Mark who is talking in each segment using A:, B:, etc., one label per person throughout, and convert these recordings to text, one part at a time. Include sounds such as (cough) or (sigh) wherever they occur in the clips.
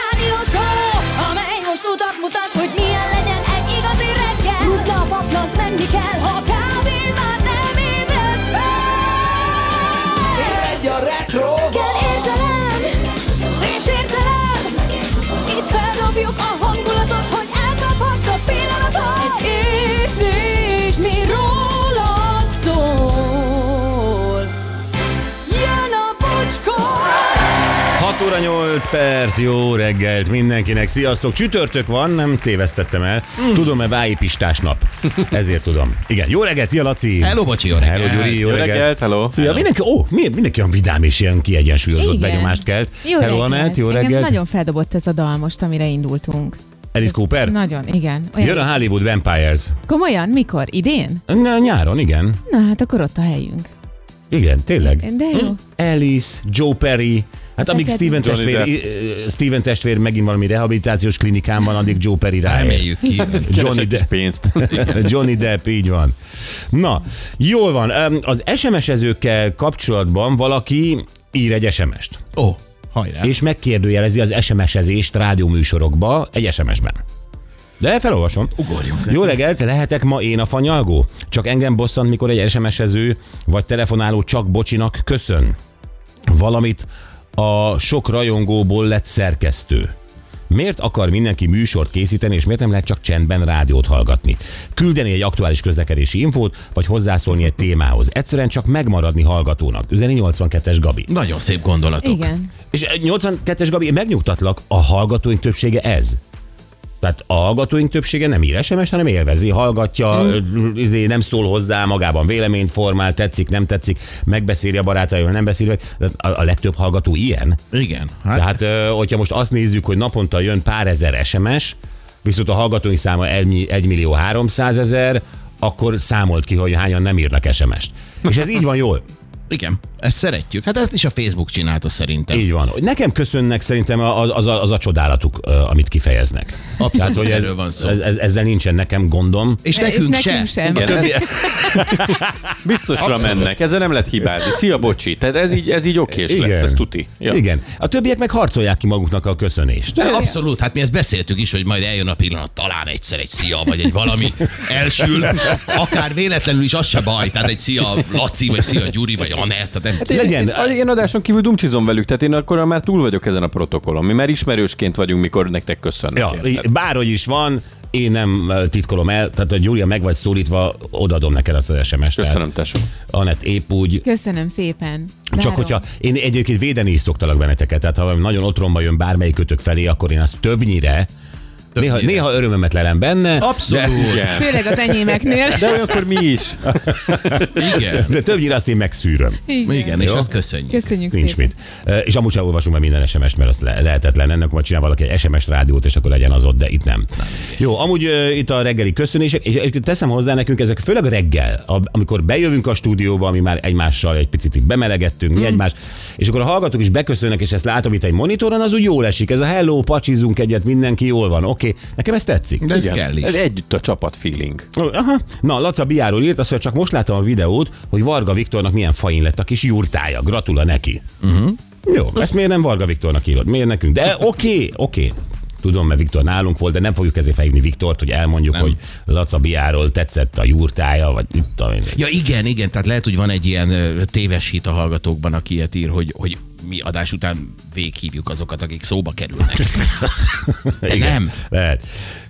A: rádió show, amely most utat mutat, hogy milyen legyen egy igazi reggel. Rutna a paplant, menni kell, ha kávén már nem ébresz fel.
B: Egy a retro
A: Kell érzelem, és értelem, itt feldobjuk a hangulatot, hogy elkaphast a pillanatot. Egy érzés, mi rólad szól. Jön a bocskor!
C: 6 óra 8 perc, jó reggelt mindenkinek, sziasztok! Csütörtök van, nem tévesztettem el.
D: Mm.
C: Tudom-e Vályi Pistás nap? Ezért tudom. Igen, jó reggelt, szia Laci!
E: Hello, bocsi, jó
C: Hello,
E: reggelt.
C: Gyuri, jó reggelt!
F: hello.
C: Szia, mindenki, ó, mi- mindenki olyan vidám és ilyen kiegyensúlyozott
D: Igen.
C: benyomást kelt.
D: Jó
C: Hello,
D: reggelt.
C: Anett, jó
D: Engem
C: reggelt!
D: nagyon feldobott ez a dal most, amire indultunk.
C: Alice Cooper?
D: Nagyon, igen. Olyan,
C: Jön a Hollywood Vampires.
D: Komolyan? Mikor? Idén?
C: Na, nyáron, igen.
D: Na hát akkor ott a helyünk.
C: Igen, tényleg.
D: De jó.
C: Alice, Joe Perry, hát amíg
D: Neked-
C: Steven
F: Johnny
C: testvér, i- Steven testvér megint valami rehabilitációs klinikán van, addig Joe Perry ráér.
E: Reméljük
C: (laughs)
E: ki.
C: Johnny,
F: Kis
C: De-
F: pénzt.
C: Johnny Depp, így van. Na, jól van. Öm, Az SMS-ezőkkel kapcsolatban valaki ír egy SMS-t,
E: Ó, hajrá.
C: és megkérdőjelezi az SMS-ezést rádióműsorokba egy SMS-ben. De felolvasom.
E: ugorjunk.
C: Jó reggelt, lehetek ma én a fanyalgó? Csak engem bosszant, mikor egy SMS-ező vagy telefonáló csak bocsinak köszön. Valamit a sok rajongóból lett szerkesztő. Miért akar mindenki műsort készíteni, és miért nem lehet csak csendben rádiót hallgatni? Küldeni egy aktuális közlekedési infót, vagy hozzászólni egy témához. Egyszerűen csak megmaradni hallgatónak. Üzeni 82-es Gabi.
E: Nagyon szép gondolatok.
D: Igen.
C: És 82-es Gabi, én megnyugtatlak, a hallgatóink többsége ez. Tehát a hallgatóink többsége nem ír SMS, hanem élvezi, hallgatja, mm. nem szól hozzá, magában véleményt formál, tetszik, nem tetszik, megbeszéli a barátaival, nem beszéli. Tehát A, a legtöbb hallgató ilyen.
E: Igen. Hát,
C: Tehát, ö, hogyha most azt nézzük, hogy naponta jön pár ezer SMS, viszont a hallgatói száma 1 millió 300 ezer, akkor számolt ki, hogy hányan nem írnak SMS-t. És ez így van jól.
E: igen, ezt szeretjük. Hát ezt is a Facebook csinálta szerintem.
C: Így van. Nekem köszönnek szerintem az, az, a, az a csodálatuk, ö, amit kifejeznek.
E: Abszolút,
C: Tehát, hogy ez,
E: erről van szó.
C: Ez, ez, ezzel nincsen nekem gondom.
E: És nekünk,
D: és nekünk sem.
E: A többi-
F: (laughs) Biztosra
E: Abszolút.
F: mennek, ezzel nem lehet hibázni. Szia, bocsi. Tehát ez így, ez így okés Igen. lesz, ez tuti.
C: Ja. Igen. A többiek meg harcolják ki maguknak a köszönést.
E: Abszolút, hát mi ezt beszéltük is, hogy majd eljön a pillanat, talán egyszer egy szia, vagy egy
C: (laughs)
E: valami elsül, akár véletlenül is, az se baj, tehát egy szia Laci, vagy szia Gyuri, vagy Anett, tehát nem,
C: Legyen.
F: Én, én adáson kívül dumcsizom velük, tehát én akkor már túl vagyok ezen a protokollon. Mi már ismerősként vagyunk, mikor nektek köszönök.
C: Ja,
F: érted?
C: bárhogy is van, én nem ö, titkolom el, tehát hogy Júlia meg vagy szólítva, odadom neked azt az SMS-t.
F: Köszönöm, tesó.
C: Anett, épp úgy.
D: Köszönöm szépen. Várom.
C: Csak hogyha én egyébként védeni is szoktalak benneteket, tehát ha valami nagyon otromba jön bármelyikőtök felé, akkor én azt többnyire, többnyire. Néha, néha örömömet lelem benne,
E: Abszolút, de,
F: Igen.
D: Főleg az enyémeknél.
F: De olyankor mi is.
E: igen.
C: de többnyire azt én megszűröm.
D: (laughs) Igen.
E: Igen, és
C: Jó.
E: azt köszönjük.
D: Köszönjük
C: Nincs
D: szépen.
C: mit. E, És amúgy sem olvasunk már minden SMS-t, mert azt le- lehetetlen. Ennek majd csinál valaki egy SMS rádiót, és akkor legyen az ott, de itt nem. Jó, amúgy ö, itt a reggeli köszönések, és egyébként teszem hozzá nekünk, ezek főleg reggel, a- amikor bejövünk a stúdióba, ami már egymással egy picit így bemelegettünk, mi egymást, és akkor a hallgatók is beköszönnek, és ezt látom itt egy monitoron, az úgy jól esik. Ez a hello, pacsizunk egyet, mindenki jól van, oké. Okay. Nekem ez tetszik.
E: De ez kell
F: Igen.
E: is.
F: Ez együtt a csapat feeling.
C: Aha. Na, Laca Biáról írt azt, hogy csak most láttam a videót, hogy Varga Viktornak milyen fain lett a kis jurtája. Gratula neki. Uh-huh. Jó, ezt miért nem Varga Viktornak írod? Miért nekünk? De oké, oké. Tudom, mert Viktor nálunk volt, de nem fogjuk ezért felhívni Viktort, hogy elmondjuk, nem. hogy Laca Biáról tetszett a jurtája, vagy mit tudom én.
E: Ja igen, igen, tehát lehet, hogy van egy ilyen ö, téves hit a hallgatókban, aki ilyet ír, hogy, hogy mi adás után végighívjuk azokat, akik szóba kerülnek. De nem.
C: Lehet.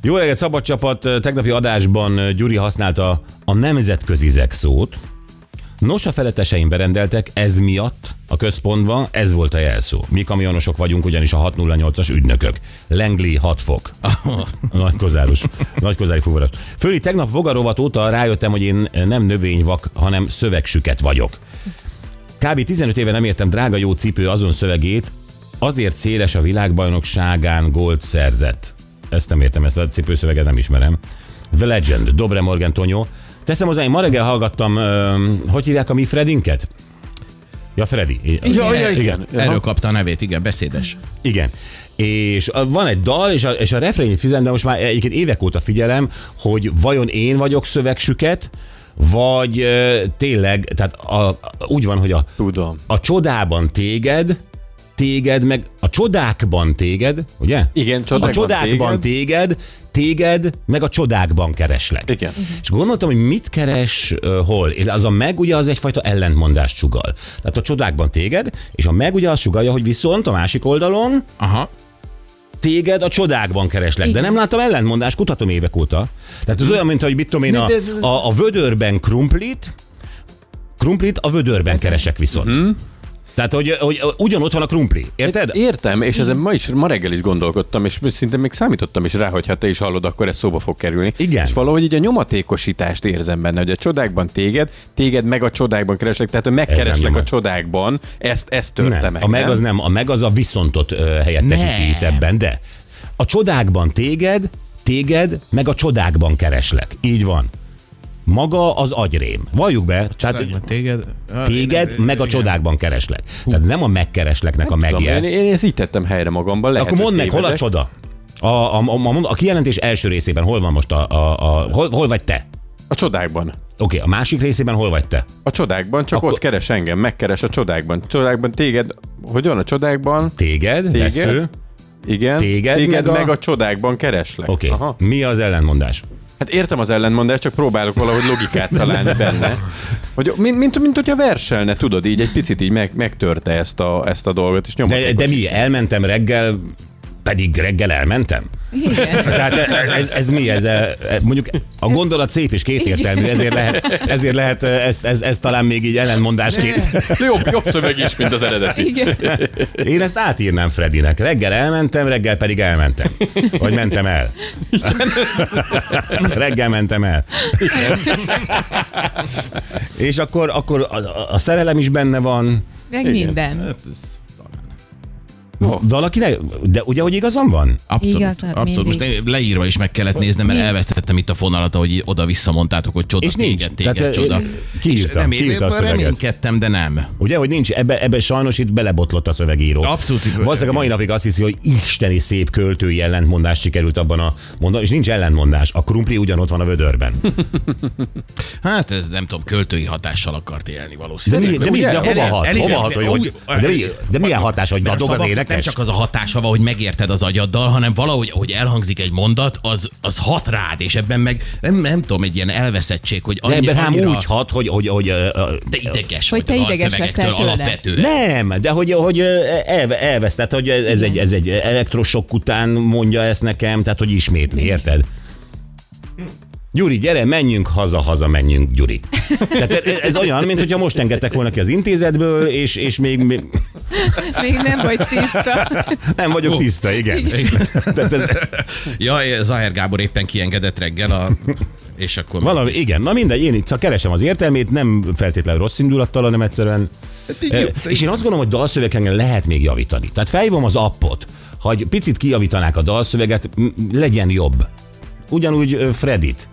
C: Jó reggelt, szabad csapat. Tegnapi adásban Gyuri használta a nemzetközizek szót. Nos, a feleteseim berendeltek, ez miatt a központban ez volt a jelszó. Mi kamionosok vagyunk, ugyanis a 608-as ügynökök. Lengli 6 fok. (laughs) Nagy kozáros. Nagy kozári fuvaros. Főli, tegnap vogarovat óta rájöttem, hogy én nem növényvak, hanem szövegsüket vagyok. Kb. 15 éve nem értem drága jó cipő azon szövegét, azért széles a világbajnokságán gólt szerzett. Ezt nem értem, ezt a cipőszöveget nem ismerem. The Legend, Dobre Morgan Tonyó. Teszem hozzá, én ma reggel hallgattam, ö, hogy hívják a mi Fredinket? (laughs) Ja, Freddy.
E: Ja, ja,
C: igen.
E: Erről kapta a nevét, igen, beszédes.
C: Igen. És a- van egy dal, és a, és a refrénjét figyelem, de most már egyébként évek óta figyelem, hogy vajon én vagyok szövegsüket, vagy ö, tényleg, tehát a, úgy van, hogy a,
F: Tudom.
C: a csodában téged, téged, meg a csodákban téged, ugye?
F: Igen,
C: A
F: csodákban
C: csodákban téged, téged, meg a csodákban kereslek.
F: Igen.
C: És gondoltam, hogy mit keres ö, hol. És Az a meg ugye az egyfajta ellentmondást sugal. Tehát a csodákban téged, és a meg ugye azt sugalja, hogy viszont a másik oldalon
E: Aha.
C: téged a csodákban kereslek. De
D: Igen.
C: nem láttam ellentmondást, kutatom évek óta. Tehát ez olyan, mint hogy mit tudom én, a, a, a vödörben krumplit, krumplit a vödörben keresek viszont. Tehát, hogy, hogy ugyanott van a krumpli. Érted?
F: Értem, és ezen ma is, ma reggel is gondolkodtam, és szinte még számítottam is rá, hogy ha te is hallod, akkor ez szóba fog kerülni.
C: Igen.
F: És valahogy így a nyomatékosítást érzem benne, hogy a csodákban téged, téged meg a csodákban kereslek, tehát hogy megkereslek
C: nyomat.
F: a csodákban, ezt, ezt törte
C: Nem,
F: meg.
C: a meg az nem, a meg az a viszontot ö, helyettesíti
E: Nem.
C: itt ebben, de a csodákban téged, téged, meg a csodákban kereslek. Így van. Maga az agyrém. Valljuk be, tehát
E: Téged,
C: téged, meg a csodákban kereslek. Tehát nem a megkeresleknek a
F: Tudom,
C: megje.
F: én, én, ezt így tettem helyre magamban. Lehet,
C: Akkor mondd
F: hogy
C: meg, hol a
F: tévedek.
C: csoda? A, a, a, a, a kijelentés első részében hol van most a... a, a hol, hol vagy te?
F: A csodákban.
C: Oké, okay, a másik részében hol vagy te?
F: A csodákban, csak
C: Akkor-
F: Akkor... ott keres engem, megkeres a csodákban. Csodákban téged, hogy van a csodákban?
C: Téged, téged?
F: Téged?
C: vesző.
F: Igen.
C: Téged
F: téged
C: meg
F: meg,
C: a-
F: a... meg a csodákban kereslek.
C: Oké, okay.
F: Aha.
C: mi az ellenmondás?
F: Hát értem az ellentmondást, csak próbálok valahogy logikát találni benne. Hogy, mint, mint, mint hogyha verselne, tudod, így egy picit így meg, megtörte ezt a, ezt a dolgot, és
C: De,
F: nyomatékos.
C: de mi? Elmentem reggel, pedig reggel elmentem?
D: Igen.
C: Tehát e, ez, ez mi? Ez, e, e, mondjuk a gondolat szép és kétértelmű, ezért lehet, ezért lehet e, ezt, ez, ez talán még így ellenmondásként.
F: (laughs) Jobb, jobb szöveg is, mint az eredeti.
D: Igen.
C: Én ezt átírnám Fredinek. Reggel elmentem, reggel pedig elmentem. Vagy mentem el. reggel mentem el. És akkor, akkor a, a- a szerelem is benne van.
D: Meg minden.
C: Valakinek, de ugye, hogy igazam van?
E: Abszolút,
D: Igazad
E: abszolút. Most
D: hát mindig.
E: ne- leírva is meg kellett néznem, mert
D: Mi?
E: elvesztettem itt a fonalat, ahogy oda-vissza mondtátok, hogy csoda,
C: És nincs.
E: téged, téged,
C: Tehát,
E: csoda.
C: ö, kiírtam,
E: És nem, én
C: kiírta a
E: ebben
C: szöveget.
E: reménykedtem, de nem.
C: Ugye, hogy nincs, ebbe, ebbe sajnos itt belebotlott a szövegíró.
E: Abszolút itt-
C: Valószínűleg a mai napig azt hiszi, hogy isteni szép költői ellentmondást sikerült abban a mondatban, és nincs ellentmondás. A krumpli ugyanott van a vödörben.
E: Hát ez nem tudom, költői hatással akart élni
C: De,
E: valószínűleg.
C: mi, de, mi, de
F: Ugye?
C: hova
E: Elég-
C: hat?
E: elég-
C: hova hat, hogy, hogy
E: úgy-
C: de, mi, de milyen hatás, hogy
E: Mert
C: dadog
E: a
C: az
E: szavak Nem
C: énekes?
E: csak az a hatása van, hogy megérted az agyaddal, hanem valahogy, ahogy elhangzik egy mondat, az, az hat rád, és ebben meg nem, nem tudom, egy ilyen elveszettség, hogy
C: De
E: annyi,
C: ebben rám
E: annyira
C: úgy hat, hogy... hogy, hogy ö, ö,
E: te ideges
D: Hogy
E: vagy
D: te
E: a
D: ideges
E: dalszövegektől
D: leszel tőle.
E: alapvetően.
C: nem, de hogy, hogy ö, el, elvesztett, hogy ez egy, ez egy elektrosok után mondja ezt nekem, tehát hogy ismétli, érted? Gyuri, gyere, menjünk haza, haza menjünk, Gyuri. Tehát ez, ez olyan, mint hogyha most engedtek volna ki az intézetből, és, és még, még
D: Még nem vagy tiszta.
C: nem vagyok tiszta, igen. Tehát ez,
E: Ja, Zahár Gábor éppen kiengedett reggel, a, és akkor...
C: valami, igen, na mindegy, én itt csak keresem az értelmét, nem feltétlenül rossz indulattal, hanem egyszerűen
E: Hát Így jó.
C: És én azt gondolom, hogy dalszövegen lehet még javítani. Tehát felhívom az appot, hogy picit kijavítanák a dalszöveget, m- legyen jobb. Ugyanúgy ö, Fredit.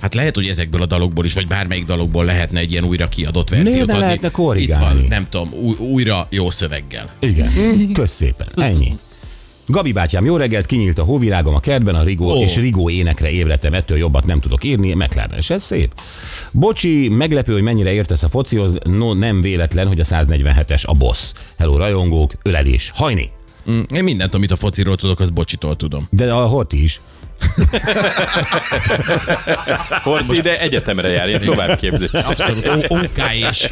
E: Hát lehet, hogy ezekből a dalokból is, vagy bármelyik dalokból lehetne egy ilyen újra kiadott verziót
C: Miért ne
E: adni.
C: lehetne
E: Itt
C: korrigálni?
E: van, nem tudom, új, újra jó szöveggel.
C: Igen. Kösz szépen. Ennyi. Gabi bátyám, jó reggelt, kinyílt a hóvirágom a kertben, a Rigó,
E: Ó.
C: és Rigó énekre ébredtem, ettől jobbat nem tudok írni, McLaren, és ez szép. Bocsi, meglepő, hogy mennyire értesz a focihoz, no nem véletlen, hogy a 147-es a boss. Hello rajongók, ölelés, hajni.
E: Mm, Én mindent, amit a fociról tudok, az bocsitól tudom.
C: De a hoti is.
F: Hord ide egyetemre járja, továbbképzés.
E: Abszolút OK és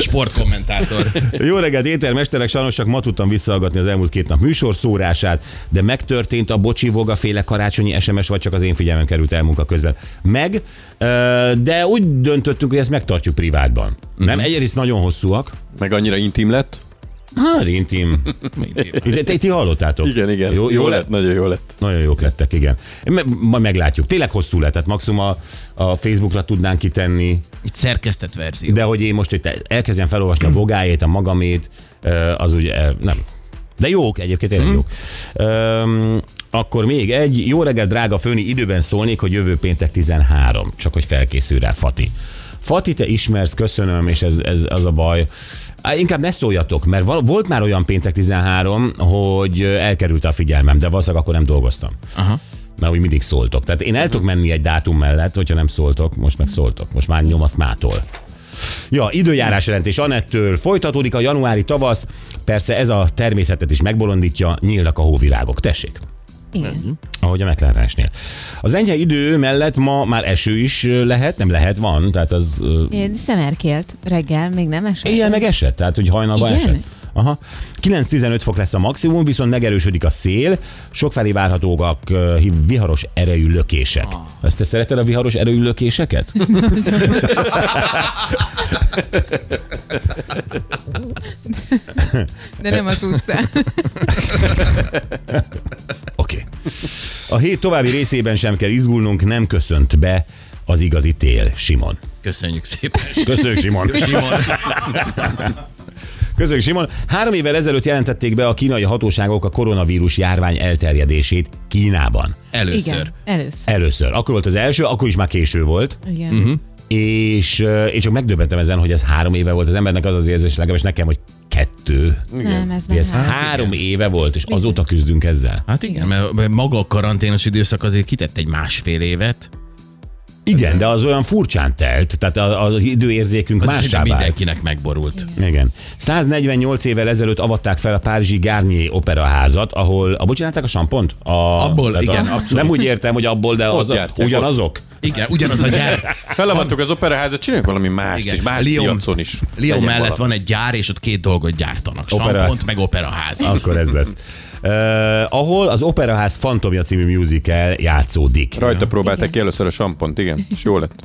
E: sportkommentátor.
C: Jó reggelt, étermesterek, sajnos csak ma tudtam visszahallgatni az elmúlt két nap műsor szórását, de megtörtént a bocsi voga féle karácsonyi SMS, vagy csak az én figyelmem került el munka közben. Meg, ö, de úgy döntöttünk, hogy ezt megtartjuk privátban. Nem, egyrészt nagyon hosszúak.
F: Meg annyira intim lett.
C: Hát, intim. Te, te, ti hallottátok?
F: Igen, igen.
C: Jó, jó lett?
F: nagyon jó lett.
C: Nagyon jók lettek, igen. Me- Majd meglátjuk. Tényleg hosszú lett, tehát maximum a, a Facebookra tudnánk kitenni,
E: Itt szerkesztett verzió.
C: de hogy én most itt elkezdjem felolvasni a bogáét, a magamét, ö, az ugye nem. De jók, egyébként tényleg jók. Öm, akkor még egy. Jó reggel, drága Főni, időben szólnék, hogy jövő péntek 13, csak hogy felkészül rá Fati. Fati, te ismersz, köszönöm, és ez, ez az a baj. Á, Inkább ne szóljatok, mert val- volt már olyan péntek 13, hogy ö, elkerült a figyelmem, de valószínűleg akkor nem dolgoztam.
E: Aha.
C: mert úgy mindig szóltok. Tehát én el tudok menni egy dátum mellett, hogyha nem szóltok, most meg szóltok. Most már nyomaszt mától. Ja, időjárás jelentés Anettől folytatódik a januári tavasz. Persze ez a természetet is megbolondítja, nyílnak a hóvirágok. Tessék! Mhm.
D: Igen.
C: ahogy a McLarenásnél. Az enyhe idő mellett ma már eső is ö, lehet, nem lehet, van, tehát az ö,
D: Én szemerkélt reggel, még nem esett.
C: éjjel meg esett, tehát hogy hajnalban
D: Igen?
C: esett. Aha. 9-15 fok lesz a maximum, viszont megerősödik a szél, sokfelé várhatóak ö, hi- viharos erejű lökések. Ezt te szereted a viharos erejű lökéseket?
D: De nem az utcán.
C: Oké. Okay. A hét további részében sem kell izgulnunk, nem köszönt be az igazi tél, Simon.
E: Köszönjük szépen.
C: Köszönjük, Simon!
E: Simon.
C: Közög Simon, három évvel ezelőtt jelentették be a kínai hatóságok a koronavírus járvány elterjedését Kínában.
E: Először.
D: Igen, először.
C: Először. Akkor volt az első, akkor is már késő volt,
D: Igen. Uh-huh.
C: és ö, én csak megdöbbentem ezen, hogy ez három éve volt. Az embernek az az érzés, legalábbis nekem, hogy kettő.
D: Nem, ez
C: Mi
D: már
C: ez
D: hát.
C: három éve volt, és azóta küzdünk ezzel.
E: Hát igen, mert mert maga a karanténos időszak azért kitett egy másfél évet.
C: Igen, de az olyan furcsán telt, tehát a- az időérzékünk
E: Az szinte
C: mássá vált.
E: mindenkinek megborult.
C: Igen. 148 évvel ezelőtt avatták fel a Párizsi Garnier operaházat, ahol, a bocsánatták a sampont? A,
E: Abból,
C: tehát
E: igen,
C: a,
E: abszolút.
C: Nem úgy értem, hogy abból, de az,
F: járták,
C: ugyanazok?
E: Igen, ugyanaz a gyár.
F: Felavattuk az operaházat, csináljunk valami mást
E: Igen,
F: is, más
E: Lyon-
F: piacon is.
E: Lyon
F: Legyen
E: mellett
F: valami.
E: van egy gyár, és ott két dolgot gyártanak.
C: Opera.
E: Sampont, meg operaház.
C: Akkor ez lesz. Uh, ahol az Operaház Fantomja című musical játszódik.
F: Rajta próbálták
D: Igen.
F: ki először a sampont, igen, és jó lett.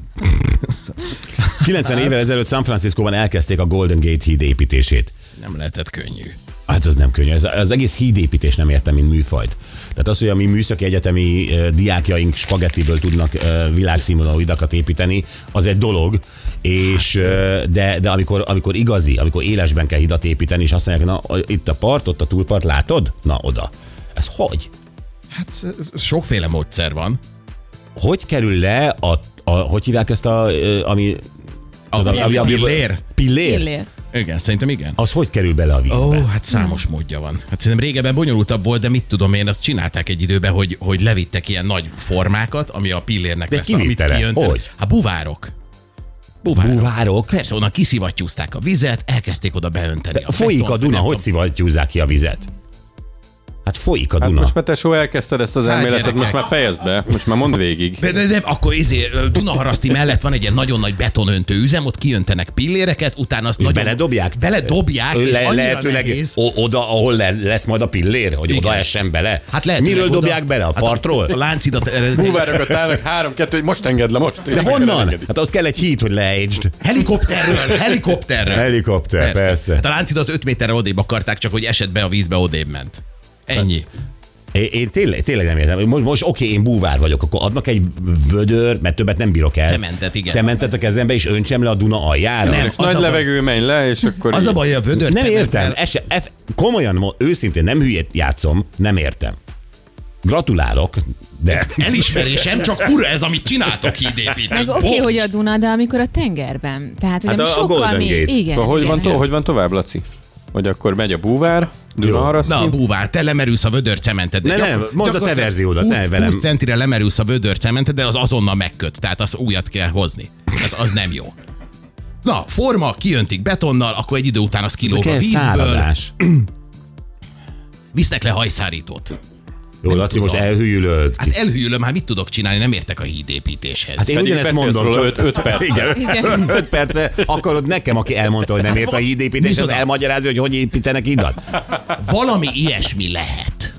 C: 90 évvel ezelőtt San Franciscóban elkezdték a Golden Gate híd építését.
E: Nem lehetett könnyű.
C: Hát az nem könnyű, ez, az egész hídépítés nem értem, mint műfajt. Tehát az, hogy a mi műszaki egyetemi ö, diákjaink spagettiből tudnak ö, világszínvonalú hidakat építeni, az egy dolog, és ö, de, de amikor, amikor igazi, amikor élesben kell hidat építeni, és azt mondják, na itt a part, ott a túlpart, látod? Na oda. Ez hogy?
E: Hát sokféle módszer van.
C: Hogy kerül le a, a hogy hívják ezt a, ö, ami...
E: A,
C: ami- ami-
E: a, a
C: ami-
E: pillér?
C: Pillér?
D: Pillér.
E: Igen, szerintem igen.
C: Az hogy kerül bele a vízbe?
E: Ó, oh, hát számos módja van. Hát szerintem régebben bonyolultabb volt, de mit tudom én, azt csinálták egy időben, hogy, hogy levittek ilyen nagy formákat, ami a pillérnek
C: De
E: lesz,
C: ki
E: amit
C: vitte le?
E: kijöntenek.
C: Hogy?
E: Hát buvárok. Buvárok.
C: Búvárok?
E: Persze, onnan kiszivattyúzták a vizet, elkezdték oda beönteni.
C: De folyik a
E: betont,
C: Duna,
E: nem
C: hogy
E: tudom.
C: szivattyúzzák ki a vizet? Hát folyik a
F: Hát
C: Duna.
F: most Petesó elkezdted ezt az
E: Hát,
F: elméletet, most
E: gyerekek.
F: már fejezd be, most már mondd végig.
E: de, de, de, akkor izé, ö, Dunaharaszti mellett van egy ilyen nagyon nagy betonöntő üzem, ott kijöntenek pilléreket, utána azt
C: és
E: nagyon...
C: beledobják?
E: Beledobják, és
C: Le,
E: annyira
C: lehetőleg
E: nehéz.
C: o- oda, ahol le, lesz majd a pillér, hogy
E: Igen.
C: oda essen bele.
E: Hát lehet,
C: Miről
E: hogy oda-
C: dobják bele? A
E: hát
C: partról?
E: A láncidat eredetileg
F: Búvárokat állnak, három, kettő, hogy most engedd le, most.
C: De honnan? Hát az kell egy híd, hogy leejtsd.
E: Helikopterről, helikopterről.
C: Helikopter, persze.
E: Hát a láncidat 5 méterre odébb akarták, csak hogy esett be a vízbe, odébb ment. Ennyi.
C: Hát, Én, én tényleg, tényleg nem értem. Most, most oké, én búvár vagyok, akkor adnak egy vödör, mert többet nem bírok el.
E: Cementet, igen.
C: Cementet a kezembe, és öntsem le a Duna aljára.
E: Nem.
F: És
E: Az
F: nagy
E: a baj.
F: levegő, menj le, és akkor...
E: Az a
F: így.
E: baj, a vödör
C: Nem
E: cementtel-
C: értem. Ez se, F, komolyan, mo- őszintén nem hülyét játszom, nem értem. Gratulálok, de...
E: Elismerésem, csak fura ez, amit csináltok hídépítők.
D: Meg oké, okay, hogy a Duna, de amikor a tengerben. Tehát, hogy
C: Hát
D: ami
C: a- a
D: sokkal
C: Golden
D: mi...
C: Gate.
D: Igen,
F: Akkor Szóval Hogy
D: igen.
F: van, to- hogy van tovább, Laci? Hogy akkor megy a búvár, Dunaharaszti.
E: Na, a búvár, te lemerülsz a vödör cemented.
C: Ne, nem, mondd a te verziódat, ne velem.
E: 20 centire lemerülsz a vödör cemented, de az azonnal megköt, tehát az újat kell hozni. Tehát az nem jó. Na, forma, kijöntik betonnal, akkor egy idő után az kilóg a
C: Kell
E: vízből,
C: száradás.
E: visznek le hajszárítót.
C: Jó, Laci, most
E: tudom.
C: elhűlöd.
E: Hát elhűlöm, hát mit tudok csinálni, nem értek a hídépítéshez.
C: Hát én
F: Pedig
C: ugyanezt
F: beszélsz
C: mondom,
F: róla
C: csak
F: öt- öt perc.
C: Igen, (laughs)
D: Igen.
C: 5 perce. Akarod nekem, aki elmondta, hogy nem ért a hídépítés, az
E: Micsoda?
C: elmagyarázni, hogy hogy építenek idat?
E: Valami ilyesmi lehet.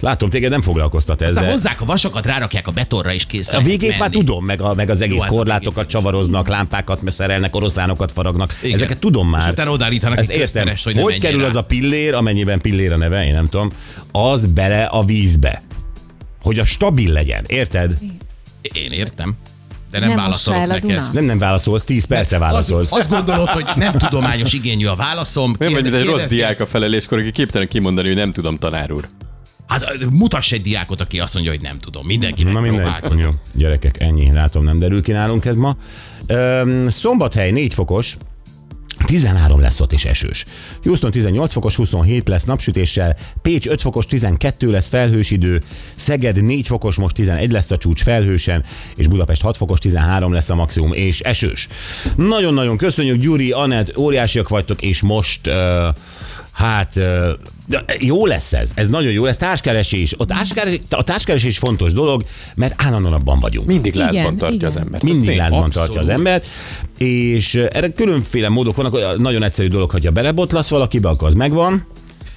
C: Látom, téged nem foglalkoztat ez,
E: Aztán
C: de...
E: hozzák a vasakat, rárakják a betonra, és kész.
C: A
E: lehet
C: végét már
E: menni.
C: tudom, meg, a, meg az egész
E: hát a
C: korlátokat
E: végét.
C: csavaroznak, lámpákat szerelnek, oroszlánokat faragnak.
E: Igen.
C: Ezeket tudom
E: És
C: már.
E: utána odaállítanak
C: Ez
E: egy
C: értem.
E: köteles,
C: Hogy,
E: hogy ne menjél
C: kerül
E: rá.
C: az a pillér, amennyiben pillér a neve, én nem tudom, az bele a vízbe. Hogy a stabil legyen, érted?
E: Én értem, de nem,
D: Nem
E: nem
D: mossál
E: válaszolok
D: el a
E: neked.
D: Duna.
C: Nem, nem válaszolsz, 10 perce
E: Az,
C: válaszolsz.
E: azt gondolod, hogy nem tudományos igényű a válaszom.
F: Nem vagy, mint egy rossz
E: kérdezd-
F: diák a felelőskor, aki képtelen kimondani, hogy nem tudom, tanár úr.
E: Hát ö, mutass egy diákot, aki azt mondja, hogy nem tudom. Mindenki Na,
C: mindegy. Jó, gyerekek, ennyi, látom, nem derül ki nálunk ez ma. Öm, szombathely 4 fokos, 13 lesz ott is esős. Houston 18 fokos, 27 lesz napsütéssel, Pécs 5 fokos, 12 lesz felhős idő, Szeged 4 fokos, most 11 lesz a csúcs felhősen, és Budapest 6 fokos, 13 lesz a maximum, és esős. Nagyon-nagyon köszönjük, Gyuri, Anett, óriásiak vagytok, és most ö, Hát ö, de jó lesz ez, ez nagyon jó lesz. Társkeresés. A társkeresés, a társkeresés fontos dolog, mert állandóan abban vagyunk.
F: Mindig
D: Igen,
F: lázban tartja
D: igen.
F: az embert.
C: Mindig
F: Azt
C: lázban
E: abszolút.
C: tartja az embert, és ö, erre különféle módok vannak. Olyan Nagyon egyszerű dolog, hogyha belebotlasz valakibe, akkor az megvan.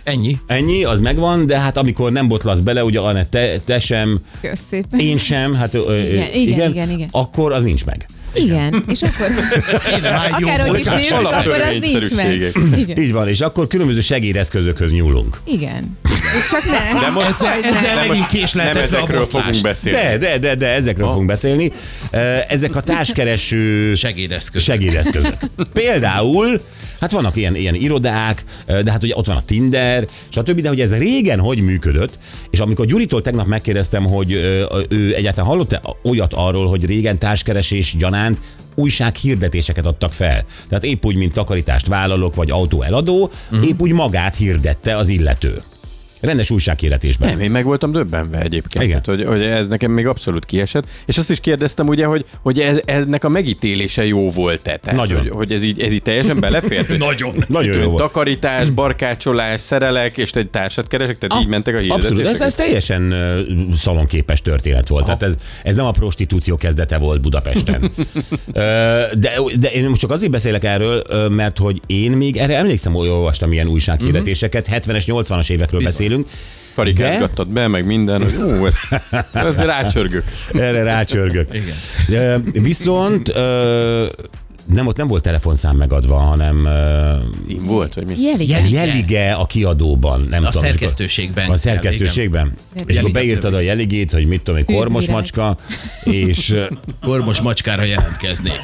E: Ennyi.
C: Ennyi, az megvan, de hát amikor nem botlasz bele, ugye Anett, te, te sem,
D: Kösz szépen.
C: én sem, hát ö, ö,
D: Igen, igen, igen, igen.
C: akkor az nincs meg.
D: Igen, és akkor akárhogy is
E: voltál.
D: nézzük, akkor az nincs meg. Igen.
C: Így van, és akkor különböző segédeszközökhöz nyúlunk.
D: Igen. Csak ne.
F: De most-
E: Ezzel,
F: Nem,
E: ezzel megint
F: most
E: kés
F: nem
E: lehetett
F: ezekről fogunk beszélni.
C: De, de, de, de ezekről fogunk beszélni. Ö, Ezek a társkereső
E: Segédeszköz.
C: segédeszközök. (laughs) Például, hát vannak ilyen, ilyen irodák, de hát ugye ott van a Tinder, stb., de hogy ez régen hogy működött, és amikor Gyuritól tegnap megkérdeztem, hogy ö, ő egyáltalán hallott-e olyat arról, hogy régen társkeresés gyanánt újsághirdetéseket adtak fel. Tehát épp úgy, mint takarítást vállalok, vagy autó eladó, épp úgy magát hirdette az illető. Rendes újsághirdetésben.
F: Nem, én meg voltam döbbenve egyébként,
C: Igen.
F: Tehát, hogy, hogy ez nekem még abszolút kiesett. És azt is kérdeztem ugye, hogy, hogy ez, ennek a megítélése jó volt-e? Tehát,
C: Nagyon.
F: Hogy, hogy ez, így, ez így teljesen belefért?
E: Nagyon.
C: Nagyon jó volt.
F: Takarítás, barkácsolás, szerelek, és egy társat keresek, tehát így mentek a hirdetések.
C: Ah, Abszolút, ez, ez teljesen ö, szalonképes történet volt. Tehát ez, ez nem a prostitúció kezdete volt
F: (laughs)
C: Budapesten. Ö, de, de én most csak azért beszélek erről, ö, mert hogy én még erre emlékszem, hogy olvastam ilyen újsághirdetéseket,
F: Mhm.
C: 70-es, 80-as évekről beszélünk.
F: Karikázgattad be, meg minden, hogy ú, ez,
E: (laughs)
F: ez rácsörgök.
C: Erre rácsörgök. Ö, Viszont ö, nem, ott nem volt telefonszám megadva, hanem ö,
F: Cím volt, vagy mi?
D: Jelinek.
E: Jelige.
C: Jelige a kiadóban, nem tudom.
E: A
C: és akkor-
E: szerkesztőségben.
C: A szerkesztőségben. És akkor
E: Jelige.
C: beírtad a jeligét, hogy mit tudom, egy kormos
D: Tűzvirág.
C: macska, és ö,
E: Kormos macskára jelentkeznék.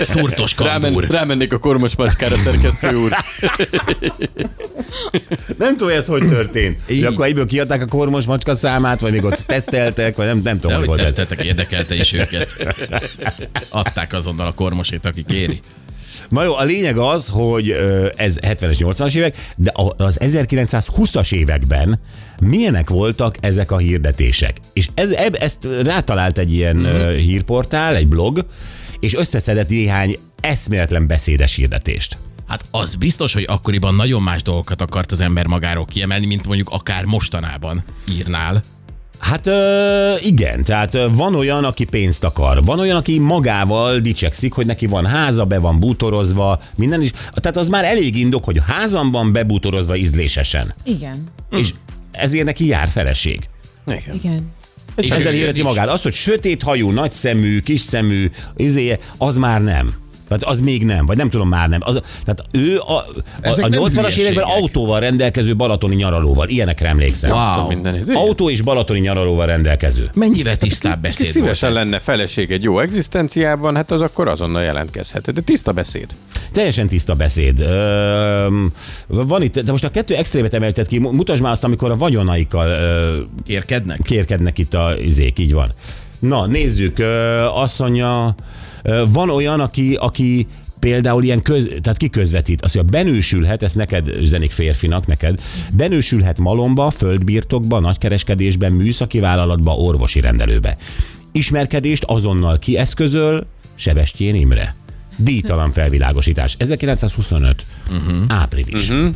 E: Szurtos
F: Rámen,
E: kandúr.
F: rámennék a kormos macskára, szerkesztő úr.
C: (laughs) nem tudom, hogy ez hogy történt. Így.
E: Így.
C: Akkor egyből kiadták a kormos macska számát, vagy (laughs) még ott teszteltek, vagy nem, nem tudom, hogy
E: De hogy
C: volt ez.
E: teszteltek, érdekelte is őket. Adták azonnal a kormosét, aki kéri.
C: Na jó, a lényeg az, hogy ö, ez 70-es, 80-as évek, de a- az 1920-as években milyenek voltak ezek a hirdetések? És ez, eb- ezt rátalált egy ilyen mm. hírportál, egy blog, és összeszedett néhány eszméletlen beszédes hirdetést.
E: Hát az biztos, hogy akkoriban nagyon más dolgokat akart az ember magáról kiemelni, mint mondjuk akár mostanában írnál.
C: Hát ö, igen, tehát ö, van olyan, aki pénzt akar, van olyan, aki magával dicsekszik, hogy neki van háza, be van bútorozva, minden is. Tehát az már elég indok, hogy házam van bebútorozva ízlésesen.
D: Igen.
E: Hm.
C: És ezért neki jár feleség.
D: Igen.
E: És
C: És ezzel
E: ő
C: életi
E: is.
C: magát. Az, hogy sötét hajú, nagy szemű, kis szemű, izéje, az már nem. Tehát az még nem, vagy nem tudom, már nem. Az, tehát ő a, a,
E: Ezek
C: a
E: nem
C: 80-as években
E: hülyeségek.
C: autóval rendelkező balatoni nyaralóval, ilyenekre emlékszem.
F: Wow. Mindenit. Igen.
C: Autó és balatoni nyaralóval rendelkező.
E: Mennyivel tisztább
F: Ki
E: beszéd volt.
F: szívesen lenne feleség egy jó egzisztenciában, hát az akkor azonnal jelentkezhet. De tiszta beszéd.
C: Teljesen tiszta beszéd. Öm, van itt, de most a kettő extrémet emelted ki, mutasd már azt, amikor a vagyonaikkal ö,
E: Kérkednek?
C: kérkednek itt a izék, így van. Na, nézzük, ö, azt mondja, ö, van olyan, aki, aki például ilyen köz, tehát ki közvetít, azt mondja, benősülhet, ezt neked üzenik férfinak, neked, benősülhet malomba, földbirtokba, nagykereskedésbe, műszaki vállalatba, orvosi rendelőbe. Ismerkedést azonnal kieszközöl Sebestyén Imre. Díjtalan felvilágosítás. 1925. Uh-huh. Április. Uh-huh.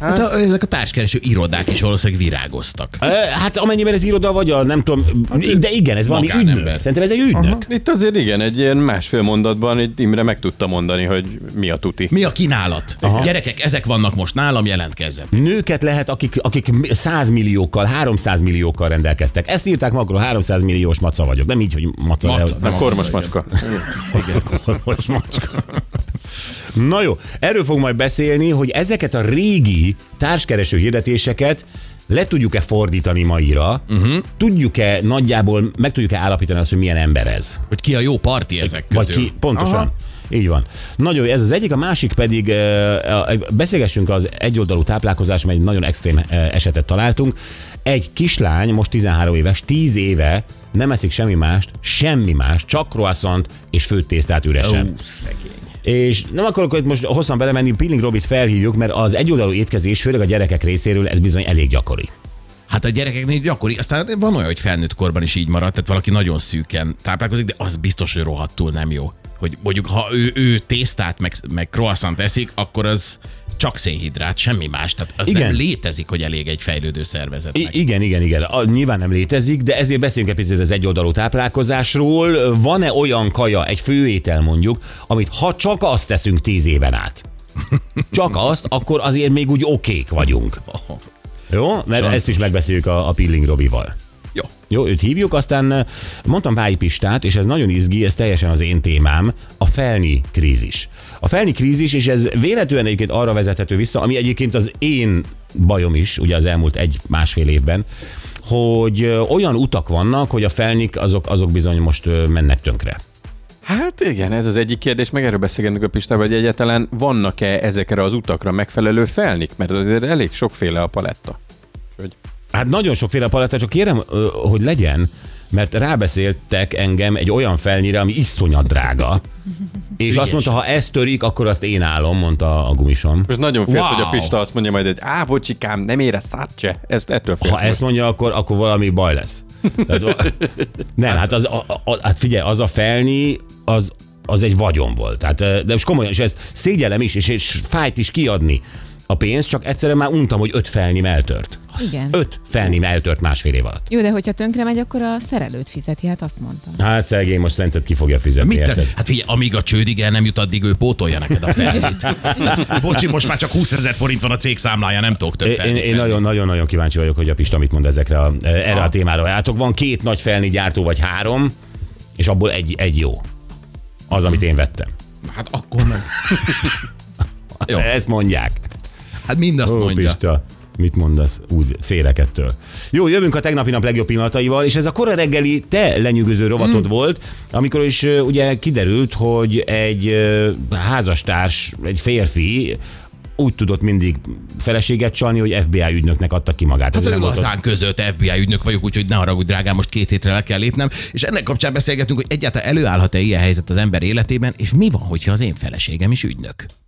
E: Hát a, ezek a társkereső irodák is valószínűleg virágoztak.
C: Hát amennyiben ez iroda vagy a nem tudom, de igen, ez valami
E: magánember.
C: ügynök. Szerintem ez egy ügynök. Aha.
F: Itt azért igen, egy ilyen másfél mondatban egy Imre meg tudta mondani, hogy mi a tuti.
E: Mi a kínálat? Gyerekek, ezek vannak most nálam, jelentkezzen.
C: nőket lehet, akik, akik 100 milliókkal, 300 milliókkal rendelkeztek. Ezt írták magról, 300 milliós maca vagyok. Nem így, hogy maca.
E: Maca,
C: de-
F: A kormos macska.
C: (laughs) Kormos macska. Na jó, erről fogunk majd beszélni, hogy ezeket a régi társkereső hirdetéseket le tudjuk-e fordítani maira, uh-huh. tudjuk-e nagyjából, meg tudjuk-e állapítani azt, hogy milyen ember ez.
E: Hogy ki a jó parti ezek közül.
C: Vagy ki, pontosan. Aha. Így van. Nagyon jó, ez az egyik, a másik pedig ö, ö, beszélgessünk az egyoldalú táplálkozás, mert egy nagyon extrém ö, esetet találtunk. Egy kislány, most 13 éves, 10 éve nem eszik semmi mást, semmi mást, csak croissant és főtt tésztát üresen.
E: Ú, szegény.
C: És nem akarok itt most hosszan belemenni, Pilling Robit felhívjuk, mert az egyoldalú étkezés, főleg a gyerekek részéről, ez bizony elég gyakori.
E: Hát a gyerekeknél gyakori, aztán van olyan, hogy felnőtt korban is így maradt, tehát valaki nagyon szűken táplálkozik, de az biztos, hogy rohadtul nem jó. Hogy mondjuk, ha ő, ő tésztát meg, meg croissant eszik, akkor az csak szénhidrát, semmi más. Tehát az
C: Igen.
E: nem létezik, hogy elég egy fejlődő szervezetnek.
C: I- igen, igen, igen. A, nyilván nem létezik, de ezért beszélünk egy picit az egyoldalú táplálkozásról. Van-e olyan kaja, egy főétel mondjuk, amit ha csak azt teszünk tíz éven át, csak azt, akkor azért még úgy okék vagyunk. Jó? Mert
E: Sajnos.
C: ezt is megbeszéljük a, a Pilling Robival.
E: Jó.
C: Jó, őt hívjuk, aztán eh, mondtam Vályi Pistát, és ez nagyon izgi, ez teljesen az én témám, a felni krízis. A felni krízis, és ez véletlenül egyébként arra vezethető vissza, ami egyébként az én bajom is, ugye az elmúlt egy-másfél évben, hogy ö, olyan utak vannak, hogy a felnik azok, azok bizony most ö, mennek tönkre.
F: Hát igen, ez az egyik kérdés, meg erről beszélgetünk a Pistával, hogy egyáltalán vannak-e ezekre az utakra megfelelő felnik, mert azért elég sokféle a paletta.
C: Hát nagyon sokféle paletta, csak kérem, ö, hogy legyen, mert rábeszéltek engem egy olyan felnyire, ami iszonyat drága. És azt mondta, ha ez törik, akkor azt én állom, mondta a gumisom.
F: Most nagyon félsz,
E: Wow.
F: hogy a Pista azt mondja majd, hogy á, bocsikám, nem ére szátse. Ezt ettől félsz.
C: Ha ezt mondja, akkor, akkor valami baj lesz. Tehát, nem, hát, az, a, a, hát figyelj, az a felni, az, az egy vagyon volt. Tehát, eh, de most komolyan, és ezt szégyellem is, és, és fájt is kiadni a pénzt, csak egyszerűen már untam, hogy öt felnim eltört.
D: Igen.
C: Öt felnim eltört másfél év alatt.
D: Jó, de hogyha tönkre megy, akkor a szerelőt fizeti, hát azt mondtam.
C: Hát szegény, most szerinted ki fogja fizetni,
E: Mit te?
C: érted?
E: Hát figyelj, amíg a csődig el nem jut, addig ő pótolja neked
C: (laughs)
E: a felét. Hát, Bocsi, most már csak 20 ezer forint van a cég számlája, nem tudok több
C: Én- Én,
E: felét
C: én
E: venni.
C: nagyon-nagyon-nagyon kíváncsi vagyok, hogy a Pista mit mond ezekre a, e, erre a témára. Látok, van két nagy felni gyártó, vagy három, és abból egy, egy jó. Az, amit én vettem.
E: Hát akkor
C: (laughs)
E: nem. Jó.
C: Ezt mondják.
E: Hát mindazt
C: Ó,
E: mondja.
C: Pista, mit mondasz? Úgy félek ettől. Jó, jövünk a tegnapi nap legjobb pillanataival, és ez a kora reggeli te lenyűgöző rovatod
E: Mm.
C: volt, amikor is ö, ugye kiderült, hogy egy ö, házastárs, egy férfi úgy tudott mindig feleséget csalni, hogy FBI ügynöknek adta ki magát.
E: Hát Az
C: Ezért
E: ő
C: Hát nem volt ott.
E: hazánk között FBI ügynök vagyok, úgyhogy ne haragudj, drágám, most két hétre le kell lépnem. És ennek kapcsán beszélgetünk, hogy egyáltalán előállhat-e ilyen helyzet az ember életében, és mi van, hogyha az én feleségem is ügynök.